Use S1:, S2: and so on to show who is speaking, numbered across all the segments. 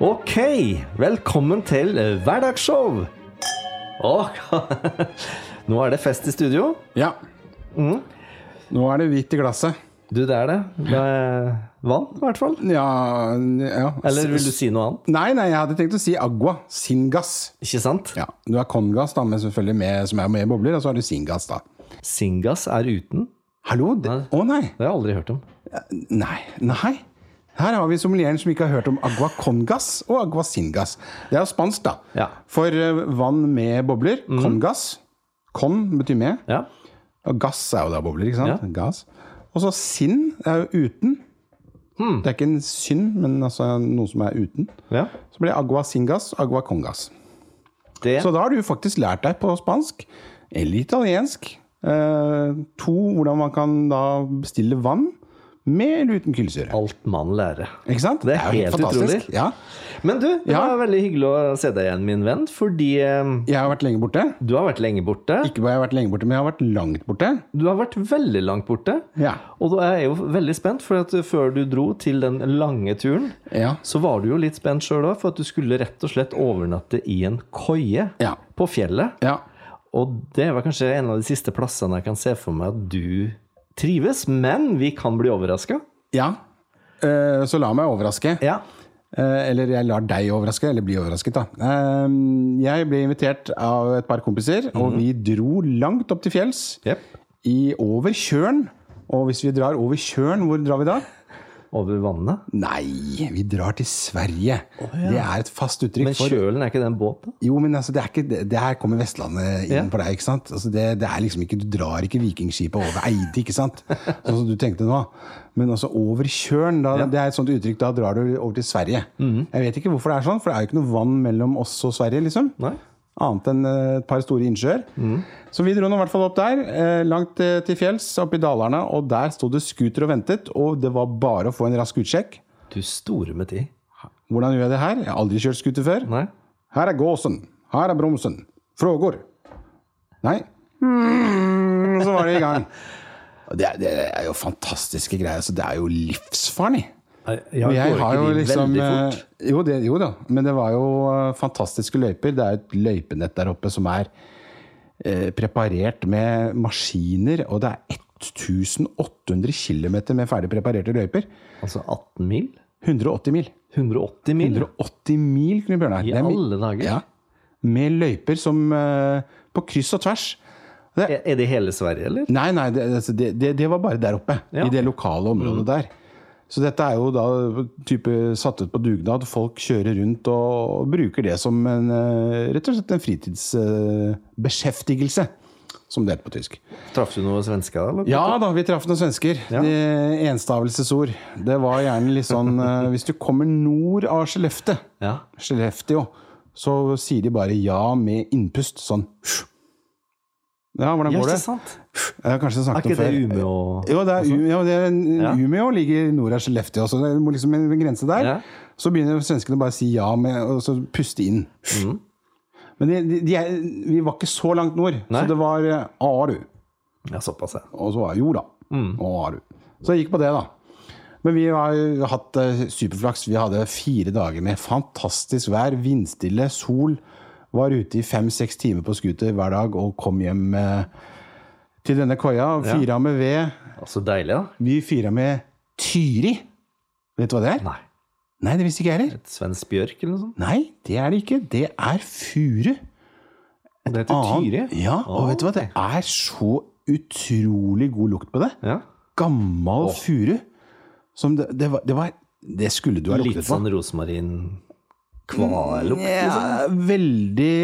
S1: Ok, velkommen til hverdagsshow. Åh, nå er det fest i studio.
S2: Ja. Nå er det hvitt i glasset.
S1: Du, det er det. Med vann, i hvert fall.
S2: Ja, ja.
S1: Eller vil du si noe annet?
S2: Nei, nei, jeg hadde tenkt å si agua. Singas.
S1: Ikke sant?
S2: Ja, Du har congas, da, men selvfølgelig med, som er med bobler, og så har du singas, da.
S1: Singas er uten.
S2: Hallo? det- Å
S1: Nei.
S2: nei.
S1: Det har jeg aldri hørt om.
S2: Nei. Nei. Her har vi sommelieren som ikke har hørt om agua congas og agua singas. Det er jo spansk, da.
S1: Ja.
S2: For eh, vann med bobler. Congas. Con betyr med.
S1: Ja,
S2: Og gass er jo da bobler, ikke sant?
S1: Ja.
S2: Gass. Og så sinn er jo uten. Det er ikke en synd, men altså noe som er uten.
S1: ja.
S2: Så blir det agua singas, agua congas.
S1: Det,
S2: Så da har du faktisk lært deg på spansk, eller italiensk, eh, to hvordan man kan da bestille vann med eller uten kullsyre.
S1: alt man lærer.
S2: Ikke sant?
S1: Det er
S2: jo
S1: helt
S2: fantastisk.
S1: utrolig.
S2: Ja.
S1: Men du, det
S2: Ja.
S1: var veldig hyggelig å se deg igjen, min venn, fordi eh,
S2: Jeg har vært lenge borte.
S1: du har vært lenge borte.
S2: Ikke bare jeg har vært lenge borte, men jeg har vært langt borte.
S1: Du har vært veldig langt borte.
S2: Ja.
S1: Og da er jeg jo veldig spent, for at før du dro til den lange turen,
S2: Ja.
S1: så var du jo litt spent sjøl òg, for at du skulle rett og slett overnatte i en koie
S2: Ja.
S1: på fjellet.
S2: ja.
S1: Og det var kanskje en av de siste plassene jeg kan se for meg at du trives, men vi kan bli overraska.
S2: ja. Eh, så la meg overraske.
S1: Ja.
S2: Eh, Eller jeg lar deg overraske, eller bli overrasket, da. Eh, Jeg ble invitert av et par kompiser,
S1: Mhm.
S2: og vi dro langt opp til fjells.
S1: Jep.
S2: I over Tjørn. Og hvis vi drar over Tjørn, hvor drar vi da?
S1: Over vannet.
S2: Nei, vi drar til Sverige. Det er et fast uttrykk
S1: Men
S2: for
S1: kjølen er ikke den båten?
S2: Jo, men altså, det er ikke det- Der kommer Vestlandet
S1: Ja.
S2: inn på deg, ikke sant? Altså, det, det er liksom ikke Du drar ikke Vikingskipet over Eide, ikke sant? Sånn som du tenkte nå. Men altså over Tjørn. Da, Det er et sånt uttrykk. Da drar du over til Sverige. Jeg vet ikke hvorfor det er sånn, for det er jo ikke noe vann mellom oss og Sverige, liksom.
S1: Nei?
S2: Annet enn eh, et par store innsjøer. Så vi dro nå i hvert fall opp der, eh, langt eh, til fjells, opp i Dalarna. Og der sto det scooter og ventet, og det var bare å få en rask utsjekk.
S1: Du store med tid.
S2: Hvordan gjør jeg det her? Jeg har aldri kjørt scooter før.
S1: Nei?
S2: Her er gåsen. Her er bromsen. Frågor. Nei. Mm, så var det i gang. Og Det, er- det er jo fantastiske greier. Så det er jo livsfarlig.
S1: Ja,
S2: Og jeg
S1: går
S2: har
S1: ikke
S2: jo
S1: de
S2: liksom
S1: veldig fort?
S2: eh, jo, det, jo da, men det var jo eh, fantastiske løyper. Det er et løypenett der oppe som er eh, preparert med maskiner, og det er 1800 km med ferdig preparerte løyper.
S1: Altså 18 mil?
S2: 180 mil.
S1: 180 mil?
S2: 180 mil, Knut Bjørnar.
S1: I
S2: Det er mi-
S1: alle dager?
S2: Ja. Med løyper som eh, På kryss og tvers. Det,
S1: Er er det hele Sverige, eller?
S2: nei, nei, det, altså, det, det, det var bare der oppe.
S1: Ja. Mm.
S2: I det lokale området der. Så dette er jo da type satt ut på dugnad. Folk kjører rundt og bruker det som en, eh, rett og slett en fritidsbeskjeftigelse, som det heter på tysk.
S1: Traff du noen svensker, eller?
S2: Ja da, vi traff noen svensker.
S1: Ja.
S2: De enstavelsesord. Det var gjerne litt sånn eh, Hvis du kommer nord av Skellefte,
S1: Ja.
S2: Skellefteå, så sier de bare ja med innpust. Sånn. Ja, hvordan
S1: Ja,
S2: går
S1: ikke
S2: det?
S1: sant?
S2: Jeg har kanskje
S1: Er
S2: snakket
S1: ikke
S2: om
S1: det
S2: før.
S1: Umeå og
S2: Jo, det er, Umeå, det er,
S1: Altså. Ja.
S2: Umeå ligger nord av Skellefteå, så det må liksom en en grense der.
S1: Ja.
S2: Så begynner svenskene bare å si ja med, og så puste inn.
S1: Mhm.
S2: Men de, de, de er, vi var ikke så langt nord,
S1: Nei.
S2: så det var eh, Aru.
S1: Ja, såpass, ja.
S2: Og så var jeg, jo da.
S1: Mhm.
S2: Og har du. Så jeg gikk på det, da. Men vi har jo hatt eh, superflaks. Vi hadde fire dager med fantastisk vær, vindstille, sol. Var ute i fem-seks timer på scooter hver dag og kom hjem eh, til denne koia. Fyra med ved.
S1: Ja, Så deilig, da.
S2: Vi fyra med Tyri. Vet du hva det er?
S1: Nei.
S2: Nei, det visste ikke jeg heller.
S1: Et svensk bjørk eller noe sånt?
S2: Nei, det er det ikke. Det er furu.
S1: Og Det heter Tyri.
S2: Annen- Ja, og vet du hva? Det er så utrolig god lukt på det.
S1: Ja.
S2: gammel furu. Som det, det, var, det var Det skulle du ha
S1: Litt
S2: luktet på.
S1: sånn rosmarin liksom. kvalukt.
S2: Ja, veldig,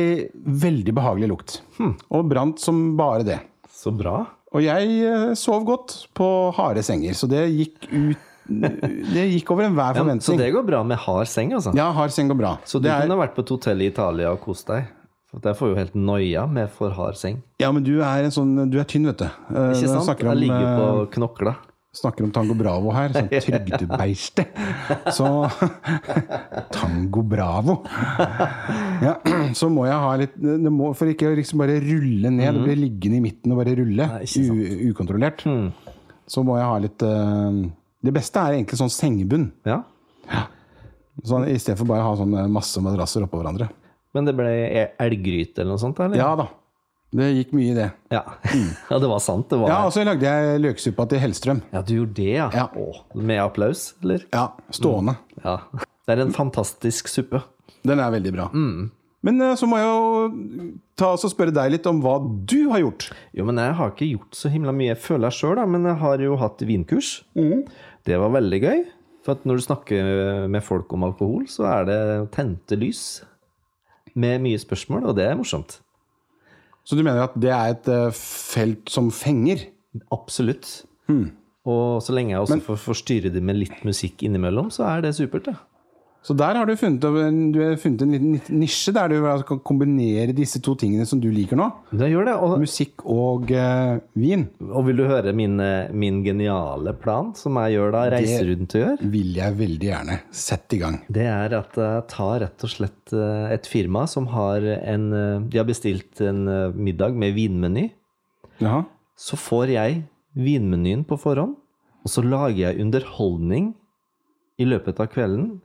S2: veldig behagelig lukt.
S1: Hm.
S2: Og brant som bare det.
S1: Så bra.
S2: Og jeg eh, sov godt på harde senger, så det gikk ut Det gikk over enhver
S1: Ja, men- så
S2: forventning.
S1: det går bra med hard seng, altså.
S2: Ja, hard seng går bra.
S1: Så du
S2: det er,
S1: kunne vært på et hotell i Italia og kost deg. For Der får jo helt noia med for hard seng.
S2: ja, men du er en sånn Du er tynn, vet du. Eh,
S1: Ikke
S2: når jeg
S1: sant?
S2: snakker om,
S1: Jeg ligger
S2: eh,
S1: på knokla.
S2: snakker om Tango Bravo her, som trygdebeiste. Så Tango Bravo! Ja, så må jeg ha litt det må, For ikke liksom bare rulle ned. Det blir liggende i midten og bare rulle.
S1: Mhm. Nei, ikke sant. Mhm.
S2: u, ukontrollert. Så må jeg ha litt eh, Det beste er egentlig sånn sengebunn.
S1: Ja.
S2: Sånn, Istedenfor bare å ha sånn masse madrasser oppå hverandre.
S1: Men det ble e- elggryte eller noe sånt? eller?
S2: Ja da. Det gikk mye i det.
S1: Ja, ja det var sant. Det var.
S2: Ja,
S1: Ja.
S2: Og så lagde jeg løksuppa til Hellstrøm.
S1: du gjorde det, ja.
S2: Ja.
S1: Å, med applaus, eller?
S2: Ja, Stående.
S1: Ja. Det er en fantastisk suppe.
S2: Den er veldig bra. Men eh, så må jeg jo ta oss og spørre deg litt om hva du har gjort.
S1: Jo, men jeg har ikke gjort så himla mye, føler jeg sjøl, men jeg har jo hatt vinkurs. Det var veldig gøy. For at når du snakker med folk om alkohol, så er det tente lys med mye spørsmål, og det er morsomt.
S2: Så du mener at det er et eh, felt som fenger?
S1: Absolutt. Og så lenge jeg også får forstyrre det med litt musikk innimellom, så er det supert, det.
S2: Så der har du funnet, en- du har funnet en liten nisje der du altså kan kombinere disse to tingene som du liker nå.
S1: Det gjør det. Og
S2: Musikk og eh, vin.
S1: Og vil du høre min, eh, min geniale plan, som jeg gjør da, reiser rundt og gjør?
S2: Vil jeg veldig gjerne. Sett i gang.
S1: Det er at jeg tar rett og slett eh, et firma som har en eh, De har bestilt en eh, middag med vinmeny.
S2: Jaha.
S1: Så får jeg vinmenyen på forhånd, og så lager jeg underholdning i løpet av kvelden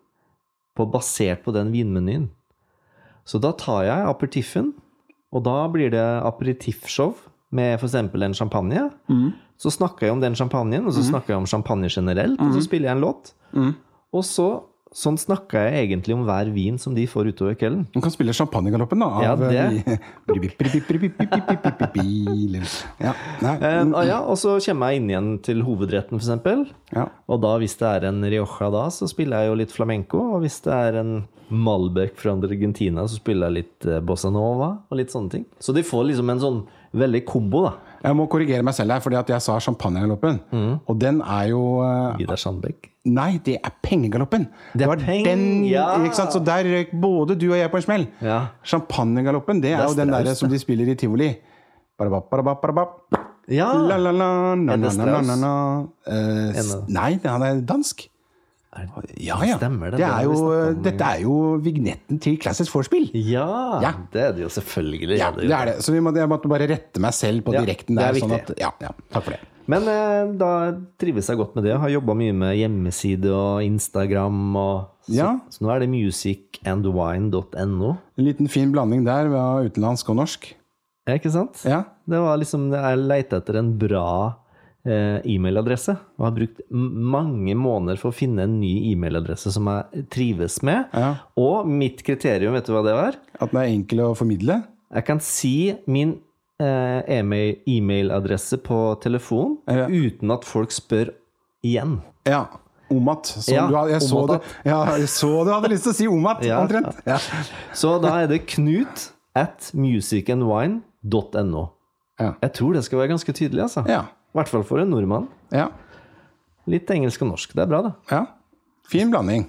S1: på, basert på den vinmenyen. Så da tar jeg aperitiffen, og da blir det aperitiffshow med f.eks. en champagne. Så snakker jeg om den champagnen, og så snakker jeg om champagne generelt, og så spiller jeg en låt. Og så, sånn snakker jeg egentlig om hver vin som de får utover kvelden.
S2: Du kan spille Champagnegaloppen, da.
S1: Ja,
S2: av,
S1: det.
S2: eh, ja, nei,
S1: Eh, ah, ja, og så kommer jeg inn igjen til hovedretten, f.eks.
S2: ja.
S1: Og da, hvis det er en Rioja da, så spiller jeg jo litt flamenco. Og hvis det er en Malbec fra Argentina, så spiller jeg litt eh, bossa nova og litt sånne ting. Så de får liksom en sånn veldig kombo, da.
S2: Jeg må korrigere meg selv her, fordi at jeg sa Champagnegaloppen. Og den er jo eh,
S1: Vidar Sandbekk.
S2: Nei, det er Pengegaloppen!
S1: Det er
S2: var
S1: peng-
S2: den,
S1: ja.
S2: ikke sant? Så der røyk både du og jeg på en smell.
S1: Ja.
S2: Champagnegaloppen, det er jo den
S1: Strauss,
S2: derre som de spiller i tivoli. Barabap, barabap, barabap.
S1: Ja!
S2: La, la, la, na,
S1: Er
S2: na,
S1: det
S2: na, na,
S1: Strauss?
S2: na. Eh, s-
S1: En av-
S2: Nei, han er dansk.
S1: Er-
S2: Ja, ja.
S1: Stemmer det, det
S2: det
S1: har
S2: er
S1: vi
S2: jo, eh,
S1: snakket om en
S2: dette er jo vignetten til Classic Vorspiel.
S1: Ja,
S2: Ja.
S1: Det er det jo selvfølgelig.
S2: Ja,
S1: er det
S2: det
S1: jo.
S2: er det. Så vi måtte, jeg måtte bare rette meg selv på
S1: Ja,
S2: direkten
S1: det er
S2: der. Sånn
S1: viktig.
S2: at, ja, ja, takk for det.
S1: Men eh, da trives jeg godt med det. Jeg har jobba mye med hjemmeside og Instagram. Og, så,
S2: Ja.
S1: så nå er det musicandwine.no.
S2: En liten fin blanding der av utenlandsk og norsk.
S1: Ja, Ikke sant?
S2: Ja.
S1: Det var liksom, Jeg lette etter en bra eh, e-mailadresse. Og har brukt m- mange måneder for å finne en ny e-mailadresse som jeg trives med.
S2: Ja.
S1: Og mitt kriterium, vet du hva det var?
S2: At den er enkel å formidle.
S1: Jeg kan si min eh, e-mail- e-mailadresse på telefon
S2: Ja.
S1: uten at folk spør igjen.
S2: Ja. Omat. Som
S1: Ja,
S2: du hadde, jeg, så du,
S1: omat.
S2: ja, jeg så du hadde lyst til å si omat,
S1: Ja.
S2: omtrent. Ja.
S1: Så da er det knut at musicandwine.no.
S2: Ja.
S1: Jeg tror det skal være ganske tydelig, altså.
S2: Ja.
S1: I hvert fall for en nordmann.
S2: ja.
S1: Litt engelsk og norsk. Det er bra, det.
S2: ja. Fin blanding.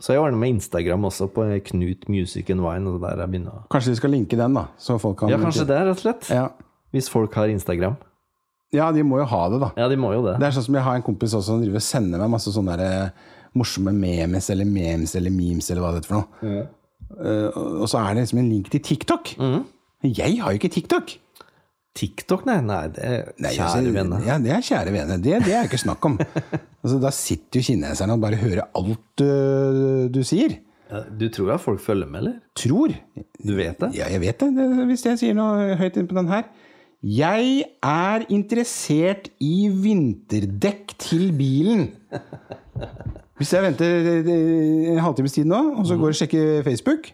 S1: Så jeg ordner med Instagram også på Knut Music and Wine. Og det der jeg begynner. å-
S2: Kanskje vi skal linke den, da. Så folk kan
S1: Ja, kanskje det, rett og slett.
S2: Ja.
S1: Hvis folk har Instagram.
S2: ja, de må jo ha det, da.
S1: Ja, de må jo det.
S2: Det er sånn som jeg har en kompis også som driver og sender meg masse sånne der, eh, morsomme memes eller memes eller memes eller hva det heter for noe. Eh, og- og så er det liksom en link til TikTok.
S1: Mhm.
S2: Men Jeg har jo ikke TikTok.
S1: TikTok, nei. nei det
S2: Nei,
S1: kjære
S2: altså,
S1: vene.
S2: Ja, det er kjære vene. Det, det er ikke snakk om. altså, da sitter jo kineserne og bare hører alt øh, du sier.
S1: Du tror at folk følger med, eller?
S2: Tror.
S1: Du vet det?
S2: Ja, jeg vet det, det hvis jeg sier noe høyt innpå den her. Jeg er interessert i vinterdekk til bilen. Hvis jeg venter eh, en halvtimes tid nå, og så går og sjekker Facebook,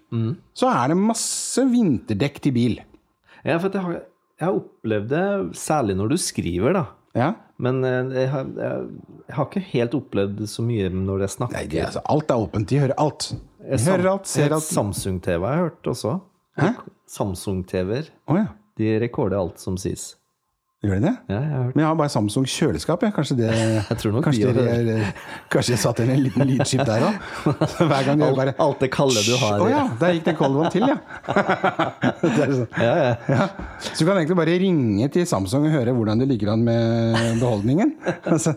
S2: så er det masse vinterdekk til bil.
S1: Ja, for at jeg har, jeg har opplevd det særlig når du skriver, da.
S2: Ja.
S1: Men eh, jeg har, jeg, jeg har ikke helt opplevd det så mye når jeg snakker.
S2: Nei, det, altså, alt er åpent. De hører alt. De
S1: Jeg sam-
S2: hører alt,
S1: jeg
S2: ser
S1: har
S2: alt.
S1: Samsung-TV har jeg hørt også. Samsung-TV-er.
S2: Å ja.
S1: De rekorder alt som sies.
S2: Gjør de det?
S1: Ja, jeg har hørt.
S2: Men jeg har bare Samsung kjøleskap, jeg. Kanskje det
S1: Jeg tror nok vi
S2: Kanskje,
S1: har hørt
S2: dere, eh, kanskje jeg satte inn en liten lydskip der òg? Hver gang jeg
S1: alt,
S2: bare
S1: alt det kalde du har.
S2: Å ja, der gikk den cold one til, ja. Det er sånn.
S1: Ja, ja.
S2: Så du kan egentlig bare ringe til Samsung og høre hvordan det ligger an med beholdningen. Altså,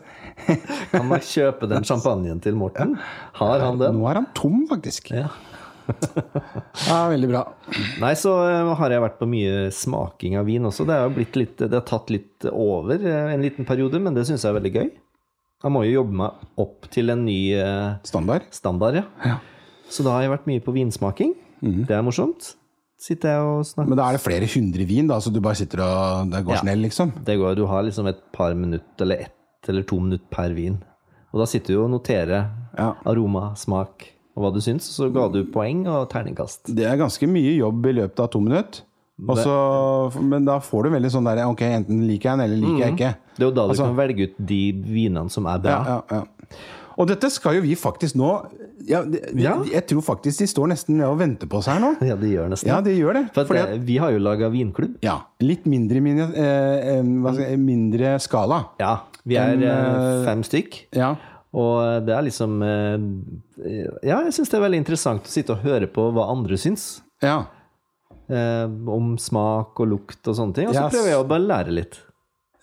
S1: Kan man kjøpe den champagnen til Morten? Har han den?
S2: nå er han tom, faktisk.
S1: Ja.
S2: Ja, Veldig bra.
S1: Nei, så eh, har jeg vært på mye smaking av vin også. Det, er jo blitt litt, det har tatt litt over eh, en liten periode, men det syns jeg er veldig gøy. Jeg må jo jobbe meg opp til en ny eh,
S2: Standard.
S1: standard, ja. Så da har jeg vært mye på vinsmaking. Det er morsomt. Sitter jeg og snakker
S2: Men da er det flere hundre vin, da, så du bare sitter og det går
S1: Ja.
S2: snell, liksom?
S1: Det går, Du har liksom et par minutt eller ett eller to minutter per vin. Og da sitter du og noterer
S2: Ja.
S1: aroma, smak og hva du syns. Så ga du poeng og terningkast.
S2: Det er ganske mye jobb i løpet av to minutter. Og så- men da får du veldig sånn der Ok, enten liker jeg den, eller liker
S1: Mhm.
S2: jeg ikke.
S1: Det er jo da du kan velge ut de vinene som er bra.
S2: Altså- Ja, ja, ja. Og dette skal jo vi faktisk nå ja, det,
S1: Ja.
S2: Jeg tror faktisk de står nesten og venter på oss her nå.
S1: Ja, det gjør nesten
S2: Ja, de gjør det.
S1: For at
S2: Fordi at,
S1: det- vi har jo laga vinklubb.
S2: ja, litt mindre, mini- eh, eh, hva skal jeg, mindre skala.
S1: Ja, vi er
S2: Den,
S1: eh,
S2: eh,
S1: fem stykk.
S2: Ja.
S1: Og det er liksom eh, Ja, jeg syns det er veldig interessant å sitte og høre på hva andre syns.
S2: ja.
S1: Eh, om smak og lukt og sånne ting. Og så
S2: Yes.
S1: prøver jeg å bare lære litt.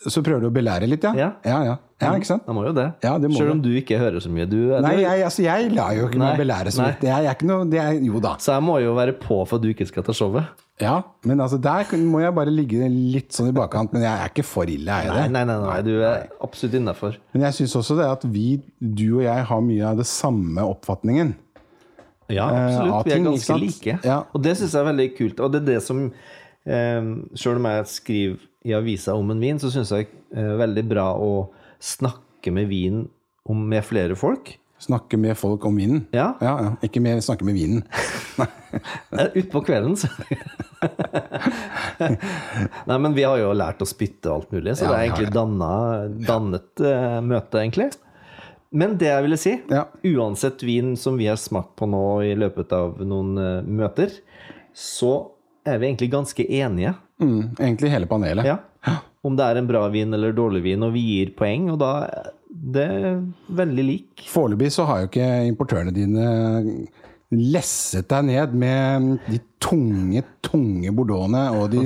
S2: Så prøver du å belære litt, ja?
S1: Ja.
S2: ja. ja. Ja, ikke sant?
S1: Jeg må jo det.
S2: Ja, det må
S1: Selv om du ikke hører så mye. Du, eh,
S2: Nei,
S1: du,
S2: jeg, altså, jeg lar jo ikke
S1: Nei,
S2: meg belære så
S1: nei.
S2: mye. Jeg er ikke noe det er, Jo da.
S1: Så jeg må jo være på for at du ikke skal ta showet.
S2: Ja, men altså, der kun- må jeg bare ligge litt sånn i bakkant. Men jeg er ikke for ille, er jeg det?
S1: Nei, nei, nei, nei du er absolutt innafor.
S2: Men jeg syns også det at vi, du og jeg, har mye av det samme oppfatningen.
S1: Ja,
S2: Eh,
S1: absolutt.
S2: av
S1: Vi er
S2: ting, ikke
S1: ganske
S2: sant?
S1: like.
S2: Ja.
S1: Og det syns jeg er veldig kult. Og det er det som eh, Sjøl om jeg skriver i avisa om en vin, så syns jeg det er veldig bra å snakke med vin om, med flere folk.
S2: Snakke med folk om vinen.
S1: Ja.
S2: Ja, ja. Ikke mer snakke med vinen.
S1: Eh, Utpå kvelden, så Nei, men vi har jo lært å spytte og alt mulig, så
S2: Ja,
S1: det er
S2: vi har
S1: egentlig
S2: det.
S1: danna, dannet eh, møte, egentlig. Men det jeg ville si,
S2: Ja.
S1: uansett vin som vi har smakt på nå i løpet av noen eh, møter, så er vi egentlig ganske enige.
S2: Mm, egentlig hele panelet.
S1: Ja. Om det er en bra vin eller dårlig vin, og vi gir poeng, og da er det veldig lik.
S2: Foreløpig så har jo ikke importørene dine lesset deg ned med de tunge, tunge bordeauxene og de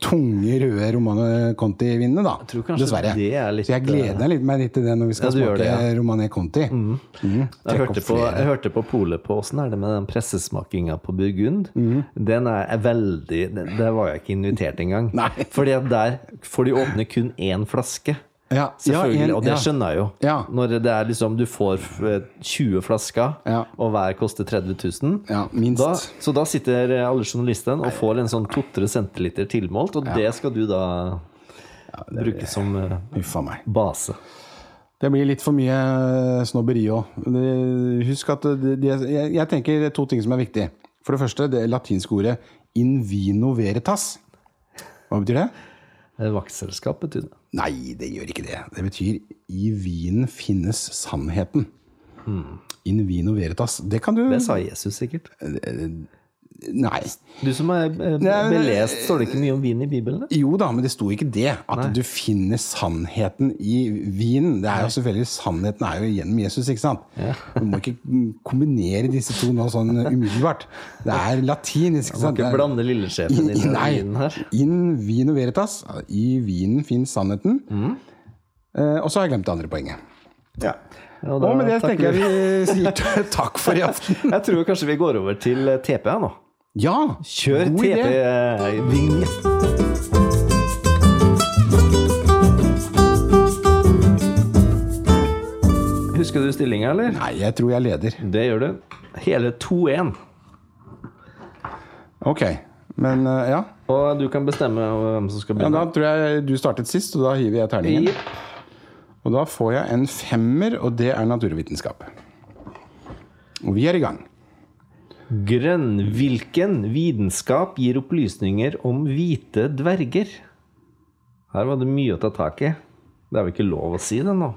S2: tunge røde Romane Conti-vinene, da.
S1: tror kanskje
S2: Dessverre.
S1: det er litt,
S2: så jeg gleder meg litt, meg litt til det når vi skal
S1: Ja, du gjør
S2: smake
S1: det,
S2: Romane Conti. Mm,
S1: Jeg
S2: trekk
S1: hørte,
S2: opp
S1: på,
S2: flere.
S1: jeg hørte på polet på åssen er det med den pressesmakinga på Burgund. Den er er veldig den- Der var jeg ikke invitert engang.
S2: Nei.
S1: Fordi at der får de åpne kun én flaske.
S2: Ja,
S1: Selvfølgelig,
S2: ja, en-
S1: Og det
S2: ja.
S1: skjønner jeg jo.
S2: Ja.
S1: Når det er liksom du får eh, 20 flasker,
S2: Ja.
S1: og hver koster 30 000.
S2: Ja, minst.
S1: Da, så da sitter eh, alle journalistene og får en sånn 2-3 centiliter tilmålt, og det skal du da bruke som eh,
S2: Huff a meg.
S1: base.
S2: Det blir litt for mye eh, snobberi òg. Husk at det, det, jeg, jeg tenker det er to ting som er viktig. For det første, det latinske ordet in vino veritas. Hva betyr det?
S1: Eh, Vaktselskap betyr det.
S2: Nei, det gjør ikke det. Det betyr i vinen finnes sannheten. In vino veritas. Det kan du
S1: Det sa Jesus sikkert.
S2: Nei.
S1: Du som er eh,
S2: Nei, men-
S1: belest, står det ikke mye om vin i Bibelen? da?
S2: Jo da, men det sto ikke det. At du finner sannheten i vinen. Det er jo selvfølgelig, Sannheten er jo gjennom Jesus, ikke sant? Du må ikke kombinere disse to nå sånn umiddelbart. Det er latinisk. ikke
S1: Kan
S2: sant?
S1: ikke blande lillesjefen inn i
S2: Nei.
S1: vinen her.
S2: In vino veritas. I vinen finnes sannheten. Eh, og så har jeg glemt det andre poenget.
S1: Og da
S2: Og med det
S1: takker
S2: tenker
S1: vi-
S2: jeg vi sier t- takk for i aften.
S1: Jeg tror kanskje vi går over til eh, TP her nå.
S2: Ja!
S1: Kjør eh,
S2: god idé.
S1: TP-vignett. Husker du stillinga, eller?
S2: Nei, jeg tror jeg leder.
S1: Det gjør du. Hele 2-1.
S2: Ok. Men eh, ja.
S1: Og du kan bestemme hvem som skal
S2: ja.
S1: begynne.
S2: Da tror jeg du startet sist, og da hiver jeg terningen.
S1: Jepp.
S2: Og da får jeg en femmer, og det er naturvitenskap. Og vi er i gang.
S1: Grønn. Hvilken vitenskap gir opplysninger om hvite dverger? Her var det mye å ta tak i. Det er vel ikke lov å si det nå?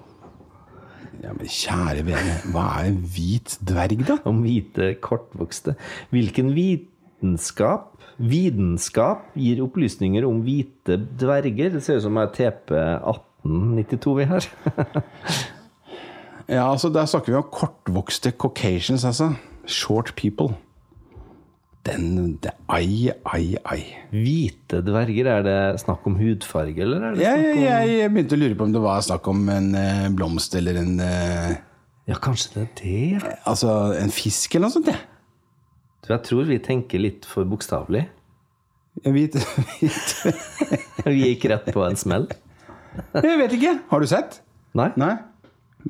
S2: Ja, men kjære vene, hva er en hvit dverg, da?
S1: Om hvite kortvokste. Hvilken, vi- Vitenskap Videnskap gir opplysninger om hvite dverger. Det ser ut som det er TP 1892 vi har.
S2: Ja, altså Der snakker vi om kortvokste caucasians, altså. Short people. Den det, Ai, ai, ai.
S1: Hvite dverger, er det snakk om hudfarge, eller er det
S2: Jeg,
S1: snakk om
S2: jeg, jeg begynte å lure på om det var snakk om en eh, blomst eller en eh,
S1: Ja, kanskje det er det? ja.
S2: Altså en fisk eller noe sånt. jeg.
S1: Du, Jeg tror vi tenker litt for bokstavelig.
S2: En hvit, hvit
S1: Vi gikk rett på en smell.
S2: Jeg vet ikke. Har du sett?
S1: Nei?
S2: Nei.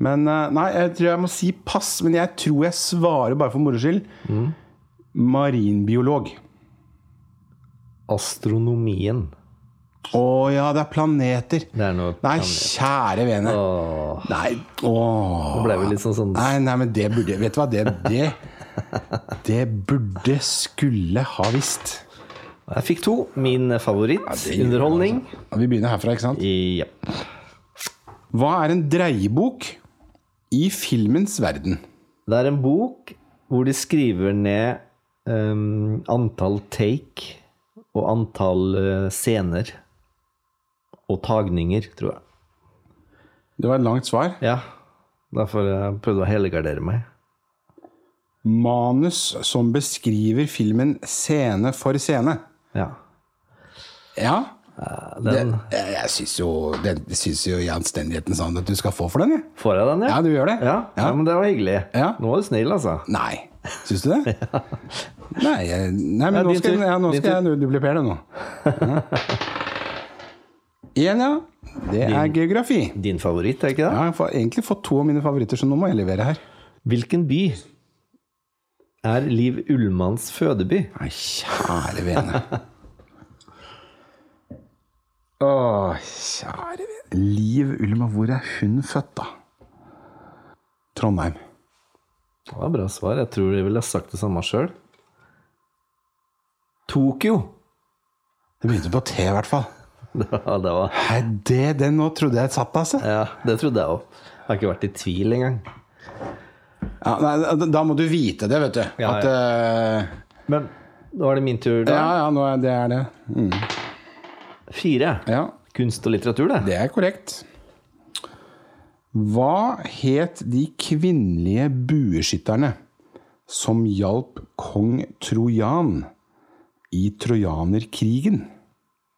S2: Men eh, nei, jeg tror jeg må si pass. Men jeg tror jeg svarer bare for moro skyld.
S1: Mm.
S2: Marinbiolog.
S1: Astronomien.
S2: Å ja, det er planeter.
S1: Det er noe
S2: Nei, kjære vene. Nei, åh.
S1: Nå ble vi litt sånn sånn
S2: Nei, nei, men det burde Vet du hva, det Det, det burde skulle ha visst.
S1: Jeg fikk to. Min favoritt. underholdning.
S2: Ja, Vi begynner herfra, ikke sant?
S1: Ja.
S2: Hva er en dreiebok i filmens verden?
S1: Det er en bok hvor de skriver ned ehm, antall take og antall eh, scener. Og tagninger, tror jeg.
S2: Det var et langt svar.
S1: Ja. Derfor jeg prøvde jeg å helgardere meg.
S2: Manus som beskriver filmen scene for scene.
S1: Ja.
S2: Ja. Det,
S1: Den,
S2: jeg jeg syns jo, det synes jo i anstendighetens navn at du skal få for den, jeg.
S1: får jeg den, ja?
S2: Ja, du gjør det?
S1: Ja, ja, men det var hyggelig.
S2: Ja.
S1: Nå var du snill, altså.
S2: Nei. Syns du det? Nei, jeg- nei, men
S1: Ja,
S2: nå
S1: din
S2: skal,
S1: tur.
S2: ja, nå
S1: Din
S2: skal jeg duplikere det nå. Én, ja. Det er geografi.
S1: Din favoritt, er ikke
S2: Ja,
S1: det?
S2: jeg har egentlig fått to av mine favoritter, så nå må jeg levere her.
S1: Hvilken by er Liv Ullmanns fødeby?
S2: Nei, kjære vene. Å, kjære vene. Liv Ullmann, hvor er hun født, da? Trondheim.
S1: Det var et bra svar. Jeg tror jeg ville ha sagt det samme sjøl. Tokyo.
S2: Det begynte på T, i hvert fall.
S1: Det var, det var
S2: Nei, det, den nå trodde jeg satt, altså.
S1: Ja, det trodde jeg òg. Jeg har ikke vært i tvil engang.
S2: Ja, nei, da- da må du vite det, vet du.
S1: Ja,
S2: At eh,
S1: Men da er det min tur, da.
S2: Ja, ja, nå er det er det.
S1: Fire.
S2: Ja,
S1: Kunst og litteratur, det.
S2: det er korrekt. Hva het de kvinnelige bueskytterne som hjalp kong Trojan i trojanerkrigen?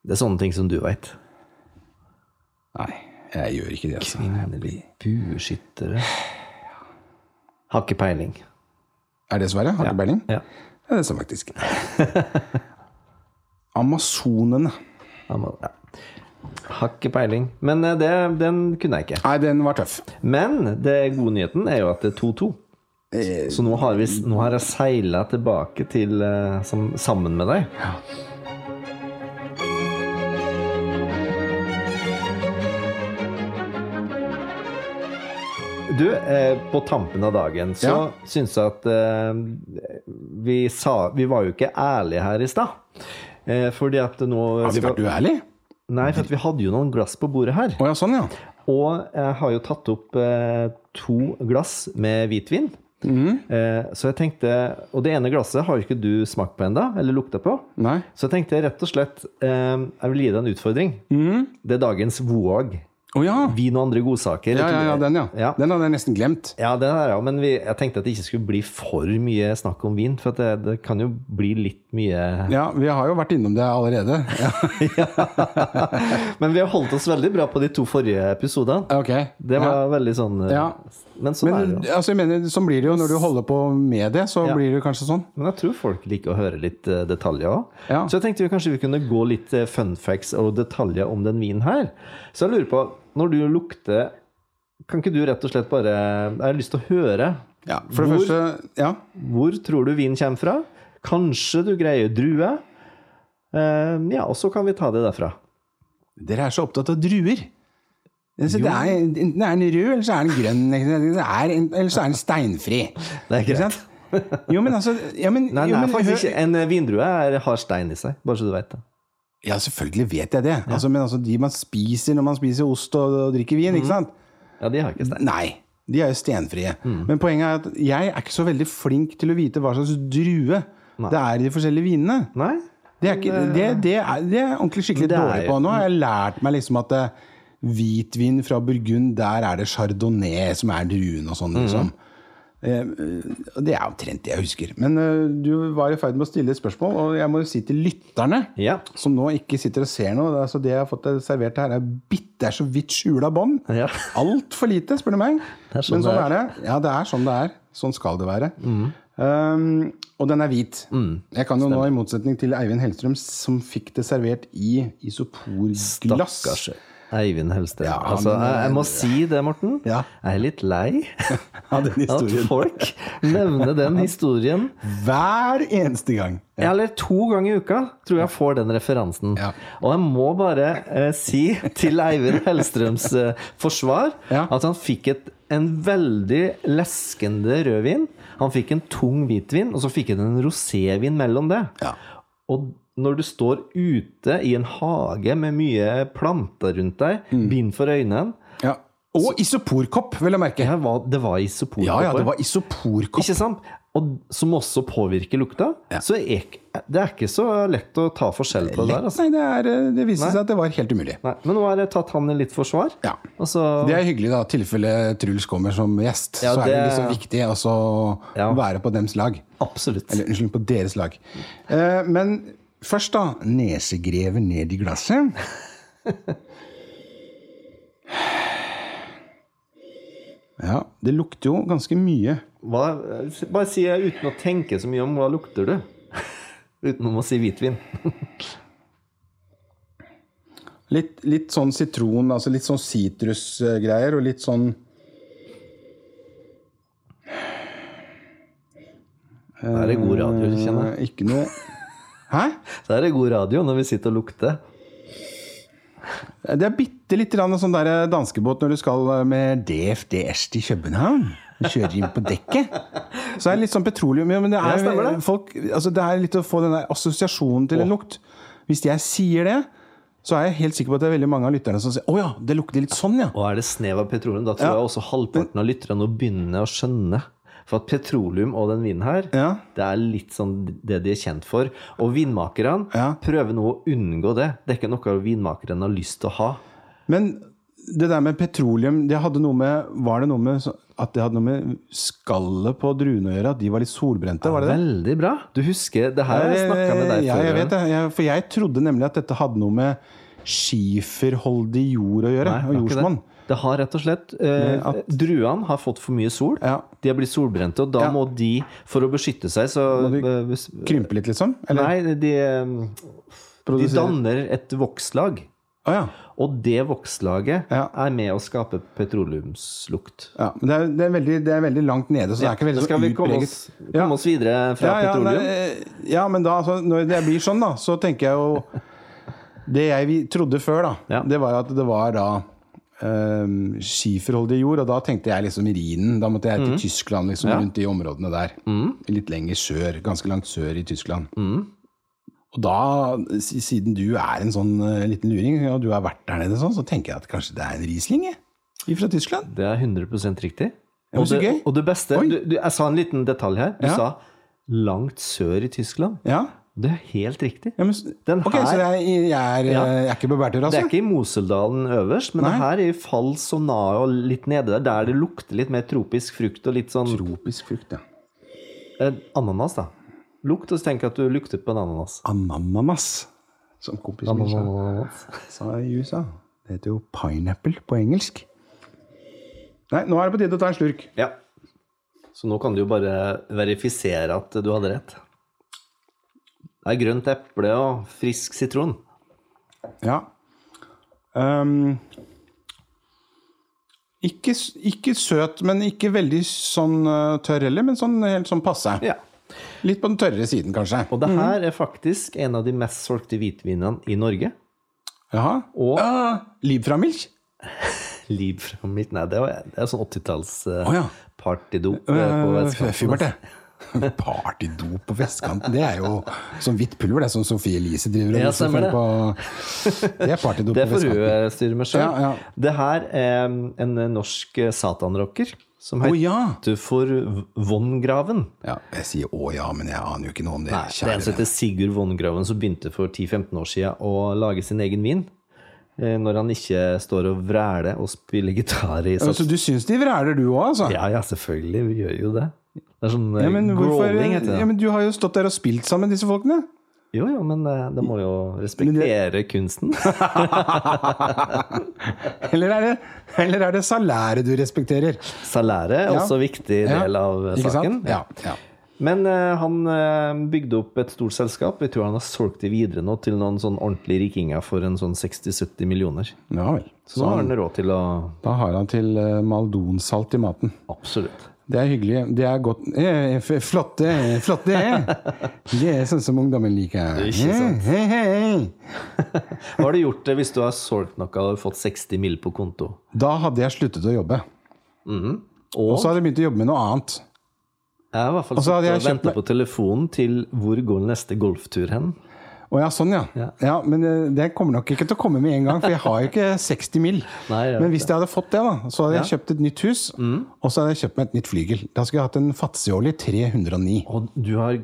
S1: Det er sånne ting som du veit.
S2: Nei, jeg gjør ikke det. Altså.
S1: Bueskyttere Har ikke peiling.
S2: Er det svaret? Har du peiling?
S1: Ja.
S2: Det er det som faktisk. Amazonene.
S1: Ja, men- ja. Har ikke peiling. Men eh, det, den kunne jeg ikke.
S2: Nei, den var tøff.
S1: Men det gode nyheten er jo at det er 2-2.
S2: Eh,
S1: Så nå har, vi, nå har jeg seila tilbake til, eh, som, sammen med deg. Du, eh, på tampen av dagen så
S2: Ja.
S1: syns jeg at eh, vi, sa, vi var jo ikke ærlige her i stad. Eh, fordi at nå
S2: Har Altså, vi vært uærlige?
S1: Nei, for at vi hadde jo noen glass på bordet her.
S2: Å ja, sånn, ja.
S1: Og jeg har jo tatt opp eh, to glass med hvitvin. Eh, så jeg tenkte Og det ene glasset har jo ikke du smakt på ennå, eller lukta på.
S2: Nei.
S1: Så jeg tenkte rett og slett eh, Jeg vil gi deg en utfordring. Det er dagens Voag.
S2: Å ja.
S1: Vin og andre godsaker.
S2: Ja, ja, ja, den, ja.
S1: Ja.
S2: Den hadde jeg nesten glemt.
S1: Ja, det er, ja, men vi, jeg tenkte at det ikke skulle bli for mye snakk om vin. For at det, det kan jo bli litt mye
S2: Ja, vi har jo vært innom det allerede. Ja,
S1: Men vi har holdt oss veldig bra på de to forrige episodene.
S2: ok.
S1: Det var veldig sånn eh,
S2: Ja.
S1: Men sånn er det
S2: Men
S1: jo.
S2: altså, jeg mener, sånn blir det jo når du holder på med det, så
S1: Ja.
S2: blir det kanskje sånn.
S1: Men jeg tror folk liker å høre litt eh, detaljer òg.
S2: Ja.
S1: Så jeg tenkte vi kanskje vi kunne gå litt eh, fun facts og detaljer om den vinen her. Så jeg lurer på, når du lukter Kan ikke du rett og slett bare Jeg har lyst til å høre.
S2: Ja, for det
S1: Hvor-
S2: første Ja.
S1: Hvor tror du vinen kommer fra? Kanskje du greier drue? Eh, ja, og så kan vi ta det derfra.
S2: Dere er så opptatt av druer. Altså, det er, enten er den rød, eller så er den grønn. ikke sant? Det er en, eller så er den steinfri.
S1: Det er
S2: Ikke
S1: greit.
S2: sant? Jo, men altså ja, men,
S1: Nei,
S2: jo,
S1: nei,
S2: men, hør-
S1: faktisk ikke. En eh, vindrue er, har stein i seg, bare så du veit det.
S2: Ja, selvfølgelig vet jeg det. Altså, men altså, de man spiser når man spiser ost og, og drikker vin,
S1: Mhm.
S2: ikke sant?
S1: Ja, de har ikke stein.
S2: Nei.
S1: Mhm.
S2: De er jo stenfrie. Men poenget er at jeg er ikke så veldig flink til å vite hva slags drue
S1: Nei.
S2: det er i de forskjellige vinene.
S1: Nei?
S2: Det er, ikke, det,
S1: eh,
S2: det er, det er ordentlig skikkelig
S1: Det er
S2: dårlig på.
S1: jo-
S2: Nå har jeg lært meg liksom at eh, hvitvin fra Burgund, der er det chardonnay som er druen og sånn,
S1: Mhm.
S2: liksom. Eh, Det er omtrent det jeg husker. Men eh, du var i ferd med å stille et spørsmål, og jeg må jo si til lytterne
S1: Ja.
S2: som nå ikke sitter og ser noe. Altså det jeg har fått servert her, er bitt, det er så vidt skjula bånd.
S1: Ja.
S2: Altfor lite, spør du meg.
S1: Det er Mm. sånn
S2: Men sånn
S1: det
S2: er. det. Ja, det er sånn det er. Sånn skal det være. Um, og den er hvit.
S1: Mm.
S2: Jeg kan jo nå, i motsetning til Eivind Hellstrøm, som fikk det servert i isoporglass
S1: Stakkars Eivind Hellsted.
S2: Ja,
S1: altså,
S2: men-
S1: jeg, jeg må si det, Morten.
S2: Ja.
S1: Jeg er litt lei
S2: av den
S1: at
S2: historien.
S1: folk nevner den historien.
S2: Hver eneste gang.
S1: Ja. Eller to ganger i uka tror jeg får den referansen.
S2: Ja.
S1: Og jeg må bare eh, si til Eivind Hellstrøms eh, forsvar
S2: Ja.
S1: at han fikk et, en veldig leskende rødvin. Han fikk en tung hvitvin, og så fikk han en rosévin mellom det.
S2: Ja.
S1: Og når du står ute i en hage med mye planter rundt deg,
S2: Mm.
S1: bind for øynene
S2: Ja. Og isoporkopp, vil jeg merke.
S1: det var, det var isoporkopper.
S2: Ja, ja, det var isoporkopp.
S1: Ikke sant? Og som også påvirker lukta. Så er, ikke- det er ikke så lett å ta forskjell på det der. Altså.
S2: Nei, det, er, eh, det viste seg at det var helt umulig.
S1: Nei, men nå har jeg tatt han i litt forsvar.
S2: Ja.
S1: Og så,
S2: Det er hyggelig, da. I tilfelle Truls kommer som gjest,
S1: Ja,
S2: så er det
S1: det-
S2: liksom viktig også å
S1: Ja.
S2: være på dems lag.
S1: absolutt.
S2: Eller unnskyld, på deres lag. Eh, men først, da. Nesegrever ned i glasset. Ja, det lukter jo ganske mye.
S1: Hva, bare si uten å tenke så mye om hva lukter du? Utenom å si hvitvin.
S2: Litt, litt sånn sitron, altså litt sånn sitrusgreier, og litt sånn
S1: Det er det god radio, kjenner jeg.
S2: eh, Ikke noe Hæ?
S1: Det er det god radio når vi sitter og lukter.
S2: Det er bitte litt grann sånn der danskebåt når du skal eh, med DFDS til København. Du kjører inn på dekket. Så er det litt sånn petroleum ja, men det,
S1: Ja,
S2: er,
S1: stemmer det.
S2: Folk, altså det er litt å få den der assosiasjonen til en lukt. Hvis jeg sier det, så er jeg helt sikker på at det er veldig mange av lytterne som sier 'Å ja, det lukter litt sånn', ja.
S1: Og er det snev av petroleum, da tror jeg også halvparten av lytterne nå begynner å skjønne. For at petroleum og den vinen her,
S2: Ja.
S1: det er litt sånn det de er kjent for. Og vinmakerne
S2: Ja.
S1: prøver nå å unngå det. Det er ikke noe vinmakerne har lyst til å ha.
S2: Men det der med petroleum, det hadde noe med Var det noe med så- at det hadde noe med skallet på druene å gjøre? At de var litt solbrente? Var det det?
S1: Veldig bra. Du husker Det her har jeg snakka med deg før.
S2: ja, jeg
S1: Jørgen.
S2: vet det. Jeg, for jeg trodde nemlig at dette hadde noe med skiferholdig jord å gjøre.
S1: Nei, det
S2: og
S1: var ikke
S2: jordsmonn.
S1: Det. det har rett og slett eh, Druene har fått for mye sol.
S2: Ja.
S1: De har blitt solbrente, og da
S2: Ja.
S1: må de, for å beskytte seg, så
S2: Må Krympe litt, liksom? Eller
S1: Nei, de, de
S2: produsere-
S1: danner et vokslag.
S2: Å, ja.
S1: Og det vokslaget
S2: Ja.
S1: er med å skape petroleumslukt.
S2: ja. Men det er, det, er veldig, det er veldig langt nede, så det er ikke veldig
S1: Skal
S2: sånn
S1: vi komme
S2: utpreget.
S1: oss, komme oss videre fra
S2: Ja, ja,
S1: petroleum?
S2: nei, eh, ja, men da, altså, når det blir sånn, da, så tenker jeg jo Det jeg vi- trodde før, da,
S1: Ja.
S2: det var at det var da eh, skiferholdig jord, og da tenkte jeg liksom Rhinen. Da måtte jeg
S1: Mm.
S2: til Tyskland, liksom, rundt de områdene der. Litt lenger sør. Ganske langt sør i Tyskland.
S1: Mm.
S2: Og da, s- siden du er en sånn eh, liten luring, og du har vært der nede sånn, så tenker jeg at kanskje det er en Riesling, jeg. Fra Tyskland.
S1: Det er 100 riktig.
S2: Ja, men
S1: Og
S2: så
S1: det,
S2: gøy.
S1: og det beste
S2: Oi.
S1: du, du, Jeg sa en liten detalj her. Du
S2: Ja.
S1: sa langt sør i Tyskland.
S2: Ja.
S1: Det er helt riktig.
S2: ja men, s-
S1: Den
S2: ok,
S1: her-
S2: så jeg, jeg, er,
S1: Ja.
S2: jeg er ikke på bærtur,
S1: Det
S2: altså?
S1: er ikke i Moseldalen øverst, men det
S2: Nei.
S1: her er i Fals og Nae og litt nede der, der det lukter litt mer tropisk frukt og litt sånn
S2: Tropisk frukt, ja.
S1: eh, ananas, da. Lukt, og så tenker jeg at du lukter på en ananas.
S2: Ananas, som kompisen min sa,
S1: Ananas.
S2: sa i USA. Det heter jo pineapple på engelsk. Nei, nå er det på tide å ta en slurk.
S1: Ja. Så nå kan du jo bare verifisere at du hadde rett. Det er grønt eple og frisk sitron.
S2: Ja. Ehm, ikke, s- ikke søt, men ikke veldig sånn eh, tørr heller, men sånn helt sånn passe.
S1: Ja.
S2: Litt på den tørrere siden, kanskje.
S1: Og det her er faktisk en av de mest solgte hvitvinene i Norge.
S2: Jaha.
S1: Og
S2: Uh, Libframilk?
S1: Liv fra mitt Nei, det er, det er sånn 80-talls eh,
S2: Å ja.
S1: partydop. eh, på
S2: Uh,
S1: vestkanten. altså.
S2: Fibert, det. Partydop på vestkanten, det er jo som hvitt pulver, det er som Sofie Elise driver og
S1: Ja,
S2: luser
S1: stemmer
S2: for på. Det er partydop
S1: Det
S2: på
S1: får
S2: vestkanten.
S1: hun eh, styre med sjøl.
S2: Ja, ja.
S1: Det her er en norsk eh, satanrocker som
S2: Å
S1: heter
S2: ja!
S1: for V- Von Graven.
S2: ja! Jeg sier å ja, men jeg aner jo ikke noe om det.
S1: Nei, det er
S2: kjære
S1: en som
S2: venn.
S1: heter Sigurd Von Graven, som begynte for 10-15 år siden å lage sin egen vin. eh, Når han ikke står og vræler og spiller gitar i sånn-
S2: Altså, du syns de vræler, du òg, altså?
S1: Ja, ja, selvfølgelig. Vi gjør jo det. Det er sånn eh,
S2: Ja, men hvorfor,
S1: growling, heter det.
S2: ja, men du har jo stått der og spilt sammen med disse folkene.
S1: Jo, jo, men eh, det må jo respektere kunsten.
S2: Eller er, det, eller er det salæret du respekterer?
S1: Salæret er
S2: Ja.
S1: også en viktig
S2: Ja.
S1: del av eh,
S2: Ikke
S1: saken.
S2: sant? Ja, ja.
S1: Men eh, han eh, bygde opp et stort selskap. Jeg tror han har solgt det videre nå til noen sånn ordentlige rikinger for en sånn 60-70 millioner.
S2: ja vel.
S1: Så nå har han råd til å
S2: Da har han til eh, maldonsalt i maten.
S1: Absolutt.
S2: Det er hyggelig. Det er godt eh, f- Flotte, flotte! eh. Det er sånn som ungdommen liker.
S1: er ikke sant.
S2: Eh, hei, hei.
S1: Hva har du gjort eh, hvis du har solgt noe og fått 60 mill. på konto?
S2: Da hadde jeg sluttet å jobbe. Og
S1: Mhm. Og
S2: så hadde jeg begynt å jobbe med noe annet.
S1: jeg har i hvert fall
S2: Og så Altså, hadde
S1: sittet
S2: jeg
S1: og
S2: kjøpt
S1: venta på telefonen til hvor går neste golftur hen?
S2: Å ja, sånn ja.
S1: Ja.
S2: ja. Men eh, det kommer nok ikke til å komme med en gang, for jeg har jo ikke 60 mill.
S1: Nei, jeg vet Mhm.
S2: Men hvis jeg hadde fått det, da, så hadde jeg kjøpt et nytt hus, og så hadde jeg kjøpt meg et nytt flygel. Da skulle jeg hatt en Fatsioli 309.
S1: Og du har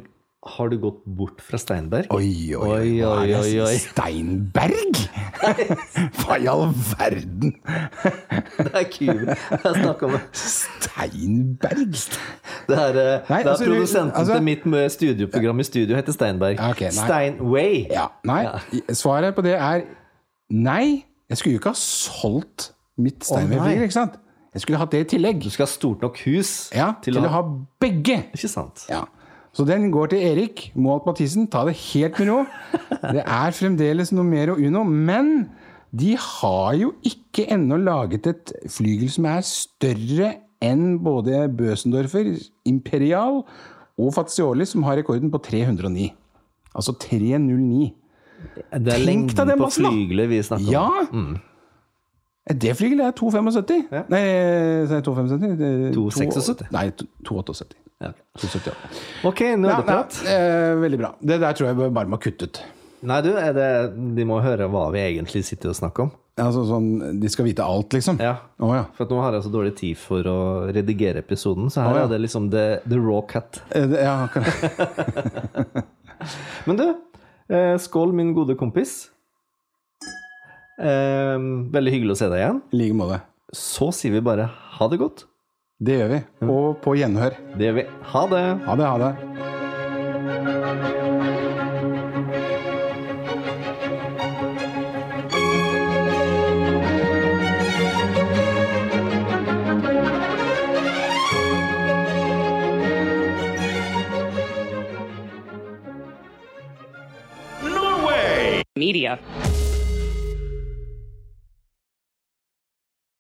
S1: Har du gått bort fra Steinberg?
S2: Oi, oi, oi. hva
S1: Oi,
S2: er det?
S1: oi, oi.
S2: Steinberg?! Hva i all verden?
S1: Det er Cuba jeg snakker om. Det
S2: Steinberg?
S1: er, eh, det
S2: Nei,
S1: er
S2: altså, vi-
S1: produsenten
S2: altså-
S1: til mitt eh, studioprogram i studio heter Steinberg.
S2: Ja, ok, nei.
S1: Steinway.
S2: Ja, nei. Svaret på det er nei. Jeg skulle jo ikke ha solgt mitt Steinberg-flygel, ikke sant? Jeg skulle hatt det i tillegg.
S1: Du skal ha stort nok hus
S2: Ja, til, å ha begge.
S1: Ikke sant?
S2: Ja. Så den går til Erik Moholt Mathisen. Ta det helt med ro. Det er fremdeles Nomero Uno, men de har jo ikke ennå laget et flygel som er større enn både Bøsendorfer, Imperial og Fazioli, som har rekorden på 309. Altså 309.
S1: Det er
S2: Tenk deg
S1: lengden
S2: den
S1: på
S2: massen, da.
S1: flygelet vi snakker om.
S2: Ja! Det flygelet er 275. Nei, så er det 275. Det er
S1: 276.
S2: to- Nei, 278.
S1: Ja.
S2: 278.
S1: Ok, nerdeprat.
S2: Nei, eh, veldig bra. Det der tror jeg bare må kutte ut.
S1: Nei, du, er det, de må høre hva vi egentlig sitter og snakker om.
S2: Altså, sånn, de skal vite alt, liksom?
S1: Ja.
S2: Å, ja.
S1: For at nå har jeg så dårlig tid for å redigere episoden, så her
S2: ja.
S1: er det liksom the, the raw cut.
S2: Eh, det- ja, kan-
S1: Men du, eh, skål, min gode kompis. Eh, veldig hyggelig å se deg igjen.
S2: I like måte.
S1: Så sier vi bare ha det godt.
S2: Det gjør vi. Og på gjenhør.
S1: Det gjør vi. Ha det.
S2: Ha det, ha det.
S3: media.